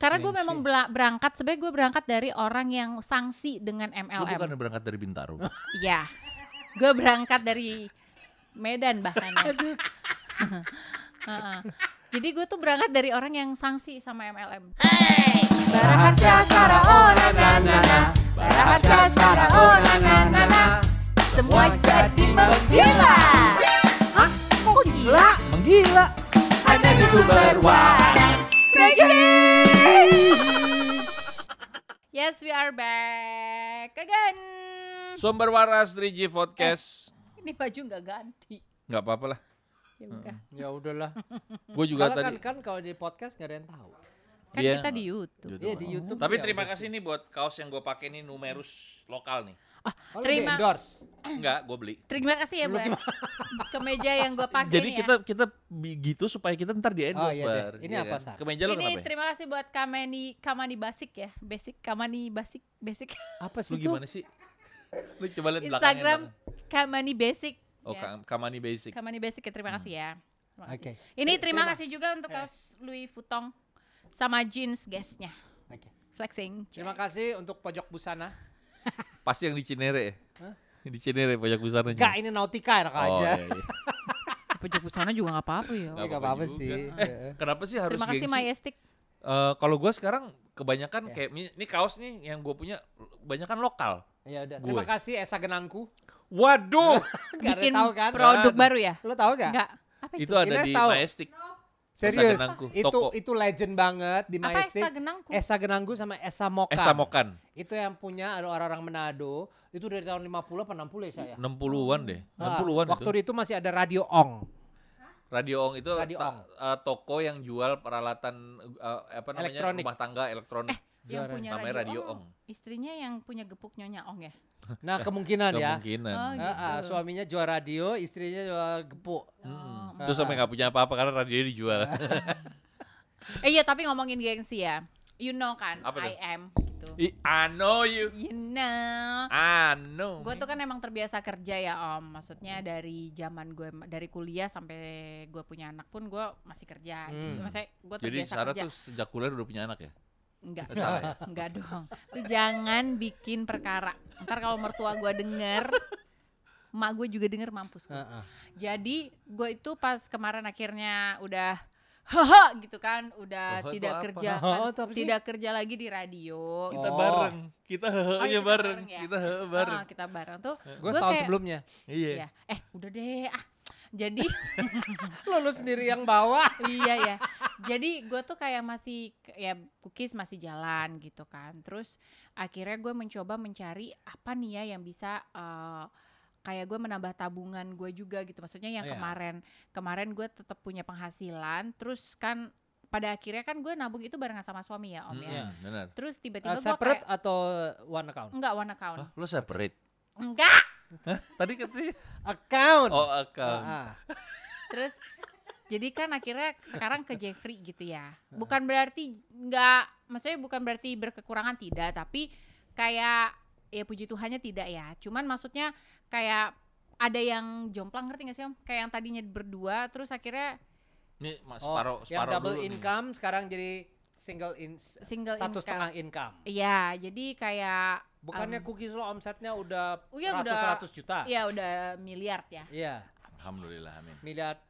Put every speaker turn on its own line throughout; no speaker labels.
Karena gue memang bela- berangkat, sebenarnya gue berangkat dari orang yang sanksi dengan
Lu
MLM.
bukan berangkat dari Bintaro.
Iya. Gue berangkat dari Medan bahkan. ya. Heeh. Jadi gue tuh berangkat dari orang yang sanksi sama MLM.
Rahasia Sara oh na na na na Rahasia Sara oh na na na na Semua jadi menggila Hah? Kok gila?
Menggila.
Hanya di sumber waras Thank you
Yes, we are back again.
Sumber Waras 3G Podcast.
Ini baju nggak ganti.
Eh. nggak apa-apa lah.
Ya udah.
Ya udahlah.
Gue juga
Kalau kan
tadi.
kan kalau di podcast nggak ada yang tahu.
Kan
Iya.
kita di YouTube. ya,
Iya di YouTube.
Tapi
sih
terima
ada
kasih
sih.
nih buat kaos yang gue pakai nih numerus lokal nih.
Oh, lu
Terima-
di endorse.
Enggak, gue beli.
Terima kasih ya, Bu. Kemeja yang gue pakai
Jadi
nih ya.
kita kita
gitu
begitu supaya kita ntar di endorse
ya? Oh, iya deh.
Bar.
Ini
Iya
apa,
kan?
Sar?
Kemeja
ya.
lo
Ini
kenapa ya?
terima kasih buat Kamani Kamani Basic ya. Basic Kamani Basic Basic.
Apa
Lu
sih itu?
gimana sih? Lu coba lihat belakangnya.
Instagram Kamani Basic.
belakang. Oh,
ya.
Kam- Kamani Basic.
Kamani Basic ya, terima kasih ya. Terima kasih.
Oke.
Ini terima kasih juga untuk kaos Louis Vuitton sama jeans guysnya.
Oke.
Flexing.
Terima kasih untuk pojok busana.
Pasti yang di Cinere ya? Di Cinere pojok busananya.
Enggak, ini Nautica enak
Oh,
iya, aja.
iya, iya.
Pojok busana juga nggak apa-apa ya.
Nggak
Nggak
apa-apa
apa-apa
juga.
sih. Iya.
Eh, Kenapa sih harus
Terima kasih
gengsi?
Majestic.
Eh, kalau gue sekarang kebanyakan kayak mi- ini kaos nih yang gue punya banyak kan lokal.
Ya udah.
Gue.
Terima kasih Esa Genangku.
Waduh,
Nggak ada
Bikin
yang tahu kan?
produk
Nggak ada.
baru ya?
Lu tahu gak?
Enggak. Apa itu?
itu ada
Ines
di
tahu.
Majestic. Eh,
Serius,
Genangku,
itu
toko.
itu legend banget di
Apa Esta
Majestic.
Genangku?
Esa Genangku sama Esa Mokan.
Esa Mokan,
Itu yang punya ada orang-orang Manado. Itu dari tahun 50 apa 60 ya saya.
60-an deh.
Ah,
60-an Hmm. itu.
Waktu itu masih ada Radio Ong.
Radio Ong itu
Radio
ta-
Ong.
eh, toko yang jual peralatan eh, apa namanya
Elektronik.
rumah tangga elektronik.
Yang
Juara.
punya
Namanya Radio Ong.
Istrinya yang punya gepuk Nyonya Ong ya?
Nah kemungkinan ya.
Kemungkinan.
Oh,
Ah, ah,
gitu.
suaminya jual radio, istrinya jual gepuk.
Mm-mm. Terus sampai nggak punya apa-apa karena radionya dijual.
Eh iya tapi ngomongin gengsi ya. You know kan,
Apa
I
tuh?
am gitu.
I I know you.
You know.
I know.
Gue tuh kan emang terbiasa kerja ya om,
Hmm.
maksudnya dari zaman gue dari kuliah sampai gue punya anak pun gue masih kerja. Gitu.
Hmm.
Maksudnya gue
Jadi
terbiasa
Sarah
kerja.
tuh sejak kuliah udah punya anak ya?
Enggak,
Eh, Sarah ya?
enggak dong. Lu jangan bikin perkara. Ntar kalau mertua gue denger, mak gue juga denger mampus gue.
Ah, ah.
Jadi gue itu pas kemarin akhirnya udah haha gitu kan, udah
Oh, itu
tidak
apa?
kerja,
Oh,
kan-
itu apa sih?
tidak kerja lagi di radio.
Oh,
Kita bareng. Kita hehe-nya
kita
bareng.
bareng ya?
Kita hehe bareng.
Ah, kita bareng tuh.
Gue
Gua
setahun
kayak-
sebelumnya.
Iya.
Ya, eh udah deh ah. Jadi
Lo lu sendiri yang bawa.
iya ya. Jadi gue tuh kayak masih ya cookies masih jalan gitu kan. Terus akhirnya gue mencoba mencari apa nih ya yang bisa eh, kayak gue menambah tabungan gue juga gitu. Maksudnya yang
Iya.
kemarin kemarin gue tetap punya penghasilan. Terus kan pada akhirnya kan gue nabung itu barengan sama suami ya om
Mm-mm,
ya.
Benar.
Terus tiba-tiba
Ah,
gue
Hmm, iya. separate
kayak
atau one account?
enggak one account.
Hah, lo separate?
Enggak.
Tadi katanya. kan
Account.
Oh,
Ah,
account.
ah.
Terus jadi kan akhirnya sekarang ke Jeffrey gitu ya. Bukan berarti nggak, maksudnya bukan berarti berkekurangan tidak, tapi kayak ya puji Tuhannya tidak ya. Cuman maksudnya kayak ada yang jomplang ngerti gak sih om? Kayak yang tadinya berdua terus akhirnya
Ini mas
Oh,
separuh
yang
separuh
double
dulu nih.
income sekarang jadi single in
single
satu
income.
setengah income.
Iya, jadi kayak
Bukannya cookies lo omsetnya udah
Oh, iya, udah.
ratus-ratus juta? Iya,
ya udah miliar ya.
Alhamdulillah, amin.
miliar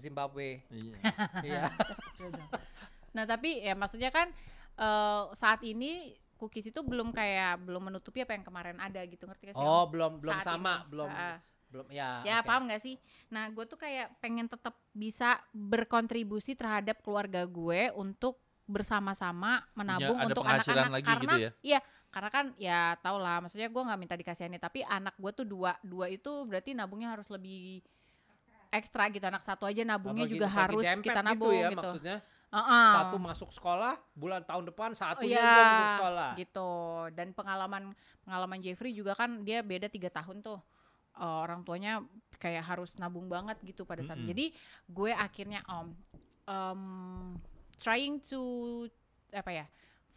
Zimbabwe.
Iya.
Iya.
Nah tapi ya maksudnya kan eh, saat ini cookies itu belum kayak belum menutupi apa yang kemarin ada gitu ngerti gak sih? Om?
Oh, belum belum
Saat
sama,
ini.
belum
Ah.
belum ya.
Ya
oke.
paham gak sih? Nah gue tuh kayak pengen tetap bisa berkontribusi terhadap keluarga gue untuk bersama-sama menabung
ada
untuk
penghasilan
anak-anak
lagi
karena
gitu ya?
iya karena kan ya tau lah maksudnya gue nggak minta dikasihani tapi anak gue tuh dua dua itu berarti nabungnya harus lebih ekstra gitu anak satu aja
Apalagi-
nabungnya juga
apalagi
harus
dempet
kita
gitu
nabung
ya,
gitu,
maksudnya
Heeh.
satu masuk sekolah bulan tahun depan
Oh
satunya
iya,
juga masuk sekolah.
gitu. Dan pengalaman pengalaman Jeffrey juga kan dia beda tiga tahun tuh. Eh, orang tuanya kayak harus nabung banget gitu pada saat.
Mm-mm.
Jadi gue akhirnya om um, trying to apa ya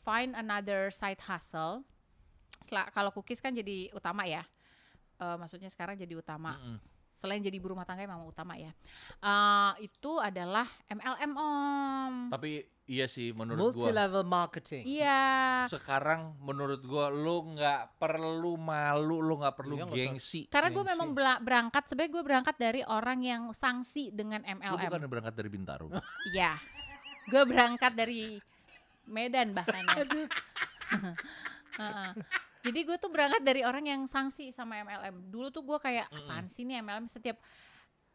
find another side hustle.
Mm.
Setelah- kalau cookies kan jadi utama ya. Eh, maksudnya sekarang jadi utama.
Mm-mm.
selain jadi ibu rumah tangga yang memang utama ya. Eh, itu adalah MLM om.
Tapi iya sih menurut
Multi
gua.
level marketing.
Iya.
Sekarang menurut gua lu nggak perlu malu, lu nggak perlu
Iya, nggak usah.
gengsi.
Karena gue
Gengsi.
memang bela- berangkat, sebenarnya gue berangkat dari orang yang sanksi dengan
Lu
MLM.
bukan berangkat dari Bintaro.
Iya. Gue berangkat dari Medan bahkan. ya. Heeh. Jadi gue tuh berangkat dari orang yang sanksi sama MLM. Dulu tuh gue kayak apaan sih nih MLM setiap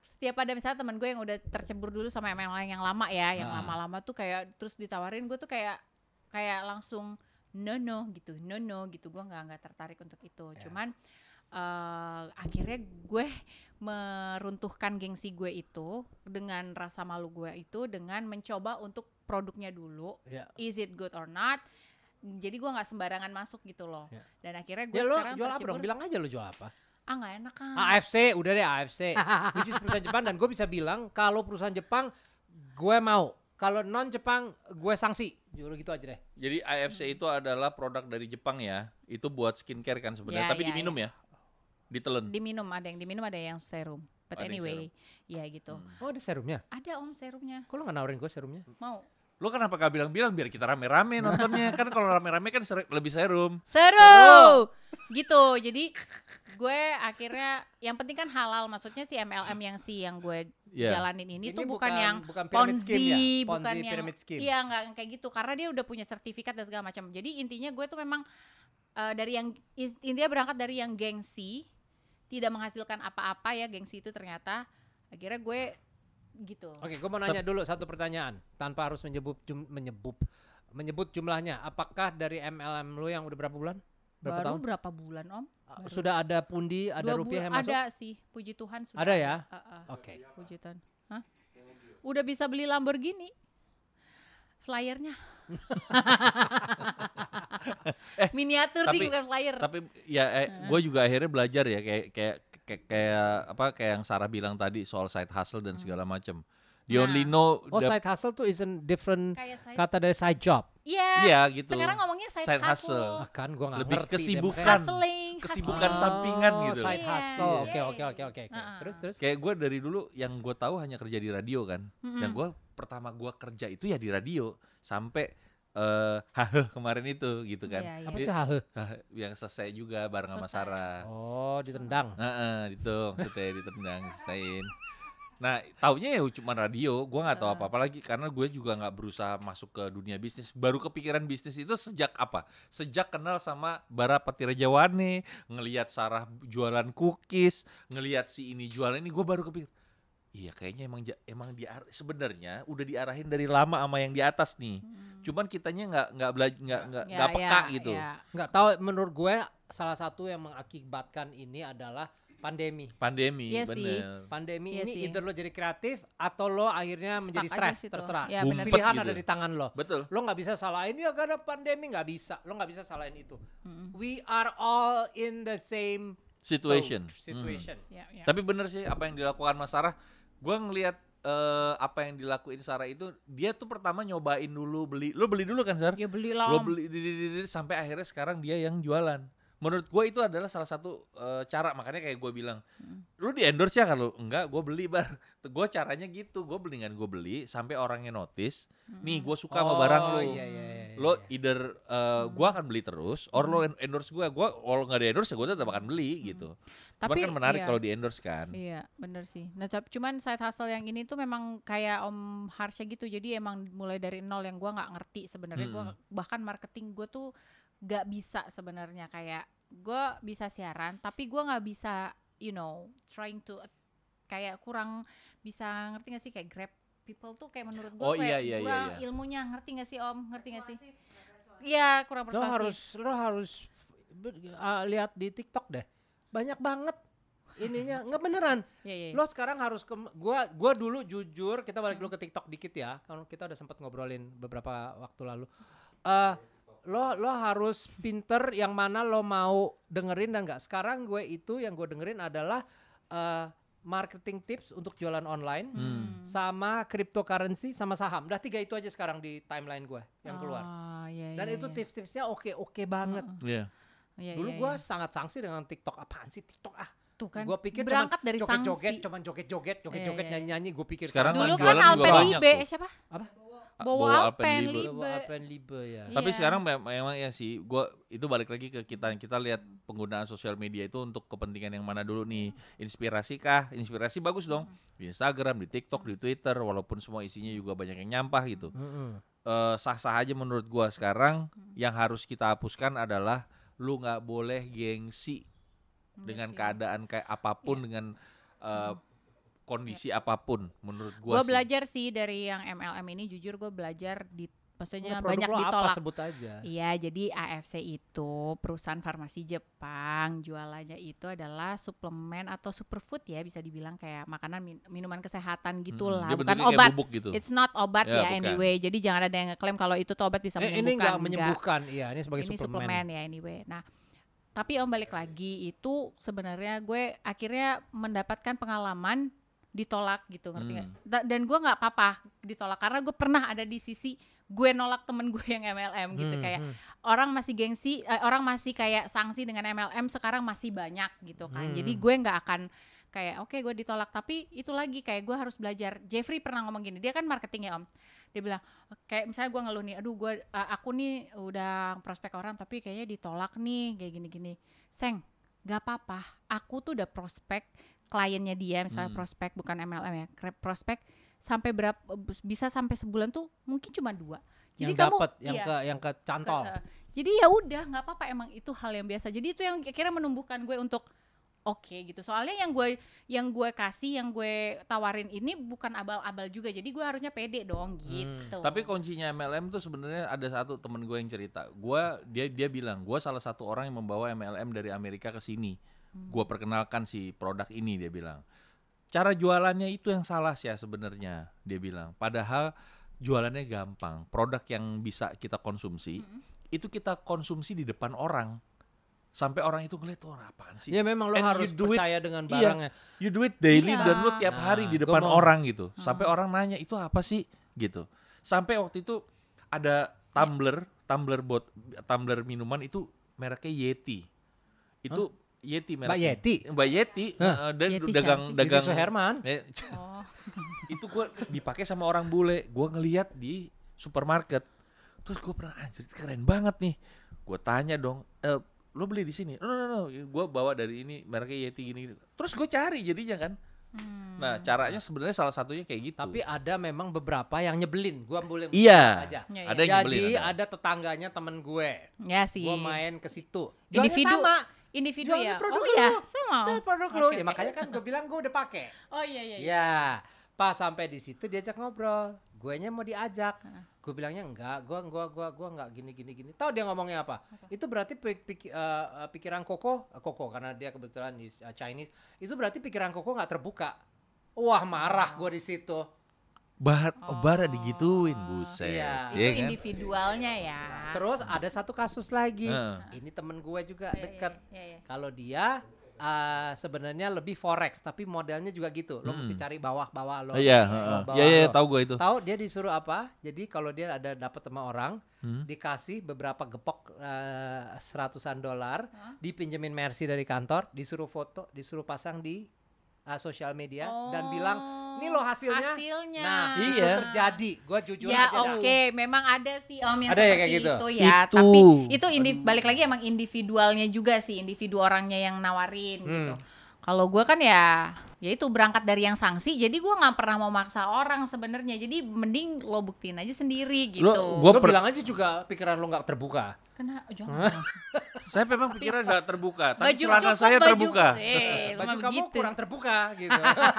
setiap ada misalnya teman gue yang udah tercebur dulu sama MLM yang lama ya, yang
Ah.
Nah.
lama-lama tuh kayak terus ditawarin gue tuh kayak kayak langsung no no gitu, no no gitu. Gue nggak nggak tertarik untuk itu.
Ya.
Cuman eh, akhirnya gue meruntuhkan gengsi gue itu dengan rasa malu gue itu dengan mencoba untuk produknya dulu
Ya.
is it good or not jadi gua nggak sembarangan masuk gitu loh
Ya.
dan akhirnya gue
Ya lo
sekarang
jual apa dong?
tercebur,
Bilang aja lo jual apa.
ah nggak enak kan
AFC, udah deh AFC. Which is perusahaan Jepang dan gue bisa bilang kalau perusahaan Jepang gue mau. Kalau non Jepang gue sanksi. Juru gitu aja deh.
Jadi AFC itu adalah produk dari Jepang ya. Itu buat skincare kan
Ya,
sebenarnya, tapi
ya,
diminum ya. Ditelen.
diminum ada yang diminum ada yang serum but
Hmm. Ada yang
anyway ya gitu
Oh ada serumnya?
ada om serumnya
Kok lo gak nawarin gue serumnya?
mau
Lu kenapa gak bilang-bilang biar kita rame-rame nontonnya? kan kalau rame-rame kan ser- lebih serum.
seru gitu jadi gue akhirnya yang penting kan halal maksudnya si MLM yang si yang gue
Iya.
jalanin ini, tuh bukan, yang
bukan pyramid
Ponzi,
scheme ya?
bukan
Ponzi
yang
pyramid scheme.
iya nggak yang kayak gitu karena dia udah punya sertifikat dan segala macam jadi intinya gue tuh memang eh, dari yang is- intinya berangkat dari yang gengsi tidak menghasilkan apa-apa ya gengsi itu ternyata akhirnya gue gitu
Oke, gue mau nanya dulu satu pertanyaan tanpa harus menyebut jum, menyebut menyebut jumlahnya. Apakah dari MLM lu yang udah berapa bulan? Berapa
baru
tahun?
berapa bulan om baru.
Sudah ada pundi, ada
Dua bul-
rupiah yang masuk?
ada sih puji Tuhan sudah
Ada ya?
Heeh,
Oke.
puji Tuhan Hah? udah bisa beli Lamborghini flyernya miniatur sih
Eh, tapi-
bukan flyer
Tapi ya eh, gue juga akhirnya belajar ya kayak kayak kayak, kayak apa kayak yang Sarah bilang tadi soal side hustle dan segala macam. The
Hmm. Nah.
only know
Oh,
the-
side hustle tuh isn't different
kayak saya
kata dari side job.
Iya.
Iya gitu.
Sekarang ngomongnya side,
Side
hustle.
hustle.
Ah, kan gue gak
Lebih
ngerti. deh,
kesibukan.
makanya.
Hustling.
Kesibukan
Oh,
sampingan gitu. loh.
Side
Iya.
hustle. Oke,
Iya.
oke, oke, oke. oke.
Heeh.
Terus, terus.
Kayak gue dari dulu yang gue tahu hanya kerja di radio kan.
Mm-mm.
Dan gue pertama gue kerja itu ya di radio sampai eh haheh kemarin itu gitu kan.
Iya, iya.
Apa
Dia-
cah?
yang selesai juga bareng sama
Selesai.
Sarah.
Oh, ditendang.
Heeh, itu maksudnya ditendang selesaiin. Nah, taunya ya cuma radio, gua nggak tahu
Ah.
apa-apa lagi karena gue juga nggak berusaha masuk ke dunia bisnis. Baru kepikiran bisnis itu sejak apa? Sejak kenal sama Bara Patira Jawane, ngelihat Sarah jualan cookies, ngelihat si ini jualan ini, gue baru kepikir. Iya, kayaknya emang ja- emang dia sebenarnya udah diarahin dari lama sama yang di atas nih. Cuman kitanya nggak nggak bela- nggak nggak
Hmm. Ya,
nggak
ya,
peka gitu.
ya.
Nggak tahu menurut gue salah satu yang mengakibatkan ini adalah pandemi.
Pandemi,
Iya sih.
bener.
Pandemi
Iya
ini
sih.
either lo jadi kreatif atau lo akhirnya
Stuck
menjadi
aja
stres
situ.
terserah.
Ya,
Bumpet
bener.
Pilihan
gitu.
ada di tangan lo.
Betul.
Lo nggak bisa salahin ya karena pandemi nggak bisa. Lo nggak bisa salahin itu.
Mm-mm.
We are all in the same
Situation.
boat,
Mm.
Situation.
Ya, ya.
Tapi bener sih apa yang dilakukan Mas Sarah. Gue ngelihat eh, apa yang dilakuin Sarah itu, dia tuh pertama nyobain dulu beli. Lo beli dulu kan Sar?
Ya beli lah.
Lo
Om.
beli di- di- di- di- sampai akhirnya sekarang dia yang jualan. Menurut gue itu adalah salah satu eh, cara makanya kayak gue bilang, lu di endorse ya kalau enggak gue beli bar. Gue caranya gitu, gue mendingan gue beli sampai orangnya notice. Nih gue suka sama barang lu.
Oh, Iya, iya, iya, iya,
Lo
iya.
either eh, gue akan beli terus, or lo en- endorse gue, gue kalau nggak di endorse ya gue tetap akan beli gitu. Cuman
Tapi,
kan menarik
iya.
kalau di endorse kan.
Iya, bener sih. Nah, tapi cuman side hustle yang ini tuh memang kayak Om Harsha gitu. Jadi emang mulai dari nol yang gua nggak ngerti sebenarnya. Gua
Hmm.
bahkan marketing gue tuh nggak bisa sebenarnya kayak gua bisa siaran, tapi gua nggak bisa, you know, trying to kayak kurang bisa ngerti gak sih kayak grab people tuh kayak menurut gua
Oh,
kayak
iya, iya, iya,
kurang
iya.
ilmunya ngerti gak sih Om? Ngerti gak sih? Iya, kurang
Lo
persuasif.
harus lo harus be- ah, lihat di TikTok deh. Banyak banget ininya nggak beneran.
Iya, iya.
Lo sekarang harus ke gua gua dulu jujur kita balik dulu ke TikTok dikit ya. Kalau kita udah sempat ngobrolin beberapa waktu lalu. Eh lo lo harus pinter yang mana lo mau dengerin dan nggak. Sekarang gue itu yang gue dengerin adalah eh marketing tips untuk jualan online
Hmm.
sama cryptocurrency sama saham. Udah tiga itu aja sekarang di timeline gue yang keluar.
Ah, iya,
Dan
iya,
itu
iya.
tips-tipsnya oke-oke banget.
Iya.
Iya,
Dulu
iya,
gue
iya.
sangat sanksi dengan TikTok. Apaan sih TikTok ah?
tuh kan.
Gua pikir cuman
berangkat dari sanksi.
joget-joget, cuman joget-joget, joget-joget
Iya, iya, iya.
nyanyi-nyanyi gua pikir.
Sekarang
kan-
Dulu
Mas
kan
jualan juga
Alpen
banyak
Libe
tuh.
siapa?
Apa?
Bawa
Bawa Alpen
Alpen
Libe.
Libe.
Alpen Libe ya.
Tapi
Iya.
sekarang mem- memang ya sih, gua itu balik lagi ke kita kita lihat penggunaan sosial media itu untuk kepentingan yang mana dulu nih. Inspirasi kah? Inspirasi bagus dong. Di Instagram, di TikTok, di Twitter walaupun semua isinya juga banyak yang nyampah gitu. Eh, sah-sah aja menurut gua sekarang yang harus kita hapuskan adalah lu nggak boleh gengsi
Iya
dengan
Iya.
keadaan kayak apapun dengan eh, kondisi apapun menurut
Gue
gua. sih.
Iya. belajar sih dari yang MLM ini jujur gue belajar di maksudnya
Udah, produk
banyak
lo Apa
ditolak.
sebut aja.
Iya, jadi AFC itu perusahaan farmasi Jepang. Jualannya itu adalah suplemen atau superfood ya, bisa dibilang kayak makanan min- minuman kesehatan
Mm-mm.
gitulah,
Dia
bukan
bentuknya kayak
obat.
bubuk gitu.
It's not obat ya,
Ya, bukan.
anyway. Jadi jangan ada yang ngeklaim kalau itu tuh obat bisa
Eh,
menyembuhkan.
ini nggak
Nggak.
menyembuhkan, iya ini sebagai
Ini suplemen.
suplemen.
ya anyway. Nah, tapi om balik lagi itu sebenarnya gue akhirnya mendapatkan pengalaman ditolak gitu ngerti nggak? Da- Dan gue nggak apa-apa ditolak karena gue pernah ada di sisi gue nolak temen gue yang MLM
Hmm.
gitu kayak orang masih gengsi, eh, orang masih kayak sanksi dengan MLM sekarang masih banyak gitu kan. Jadi
Hmm.
gue nggak akan kayak oke gue ditolak tapi itu lagi kayak gue harus belajar. Jeffrey pernah ngomong gini, dia kan marketing ya om. Dia bilang kayak misalnya gue ngeluh nih, aduh gue eh, aku nih udah prospek orang tapi kayaknya ditolak nih kayak gini-gini. Seng, gak apa-apa. Aku tuh udah prospek kliennya dia misalnya
Hmm.
prospek bukan MLM ya, kre- prospek sampai berapa bisa sampai sebulan tuh mungkin cuma dua. Jadi
yang
kamu
dapat, yang
iya.
ke yang ke cantol.
Ke- Jadi ya udah nggak apa-apa emang itu hal yang biasa. Jadi itu yang kira menumbuhkan gue untuk oke gitu. Soalnya yang gue yang gue kasih, yang gue tawarin ini bukan abal-abal juga. Jadi gue harusnya pede
Hmm,
dong gitu.
Tapi kuncinya MLM tuh sebenarnya ada satu temen gue yang cerita. Gua dia dia bilang gue salah satu orang yang membawa MLM dari Amerika ke sini. Gue perkenalkan si produk ini dia bilang. Cara jualannya itu yang salah sih ya sebenarnya dia bilang. Padahal jualannya gampang. Produk yang bisa kita konsumsi itu kita konsumsi di depan orang sampai orang itu ngeliat wah apaan sih?
Ya memang lo
And you
harus
do it-
percaya dengan
iya.
barangnya.
You do it daily
Iya.
dan lu tiap
Nah, Hmm.
hari di
gua
depan
mau-
orang gitu. Sampai orang nanya itu apa sih gitu. Sampai waktu itu ada tumbler, tumbler bot, tumbler minuman itu mereknya Yeti. Itu Yeti
Mbak
mereknya.
Yeti,
Mbak Yeti, eh, dan
Yeti siapa
dagang
sih?
dagang
Yeti Suherman.
Eh,
Oh.
itu gue dipakai sama orang bule. Gue ngeliat di supermarket. Terus gue pernah anjir keren banget nih. Gue tanya dong, "Eh, lo beli di sini? No no no, gue bawa dari ini mereknya Yeti gini. gini." Terus gue cari jadinya kan. Nah caranya sebenarnya salah satunya kayak gitu.
tapi ada memang beberapa yang nyebelin. Gua boleh
iya,
aja.
Iya, iya.
ada yang
Jadi
beli.
ada tetangganya temen gue.
ya sih.
Gue main ke situ. Jualnya
individu
sama.
individu
Jualnya
ya.
produk
oh iya,
lu.
sama.
Itu
Om.
produk
Oke,
lo.
oke.
Ya makanya kan gue bilang gue udah pakai.
Oh iya iya. iya.
Ya, pas sampai di situ diajak ngobrol. Guenya mau diajak. Gue bilangnya enggak, gua gua gua gua enggak gini gini gini. Tahu dia ngomongnya apa? Itu berarti pik- pik- eh, eh, pikiran Koko, eh, Koko karena dia kebetulan is- eh, Chinese. Itu berarti pikiran Koko nggak terbuka. Wah, marah
Oh.
gue di situ.
Bar, oh, bara digituin, buset.
Iya.
Itu
Iya kan?
individualnya ya.
Terus ada satu kasus lagi.
Heeh.
Ini temen gue juga
Iya, iya,
deket.
iya, iya.
Kalau dia eh, sebenarnya lebih forex, tapi modelnya juga gitu. Lo mesti cari bawah-bawah lo.
Oh, Hmm. Iya, heeh.
bawah-bawah
iya, iya,
lo.
tahu gue itu.
Tahu dia disuruh apa? Jadi kalau dia ada dapat sama orang,
Hmm?
dikasih beberapa gepok eh, seratusan dolar, dipinjemin Mercy dari kantor, disuruh foto, disuruh pasang di eh, sosial media dan bilang, "Ini lo
Oh.
hasilnya."
Hasilnya.
Nah, itu
Iya.
terjadi. Gua jujur
ya
aja. dah.
oke, memang ada sih om yang
Ada ya
seperti
kayak gitu?
itu ya.
Itu.
Tapi itu indi- balik lagi emang individualnya juga sih, individu orangnya yang nawarin
Hmm.
gitu. Kalau gue kan ya, ya itu berangkat dari yang sanksi. Jadi gue nggak pernah mau maksa orang sebenarnya. Jadi mending lo buktiin aja sendiri gitu.
Lo- gua
Lo
per-
bilang aja juga pikiran lo nggak terbuka.
Kena, oh, jangan.
Saya memang pikiran nggak terbuka, tapi
Baju
celana
cukup,
saya
baju-
terbuka.
Eh, lu
Baju
mah
kamu
begitu.
kurang terbuka gitu.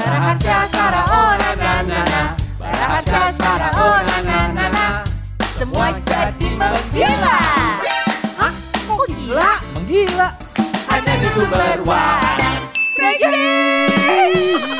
Baraharsa Sara oh na na na na Baraharsa Sara oh na na na na Semua jadi menggila Hah? Kok gila?
Menggila.
Hanya di sumber waras Reggae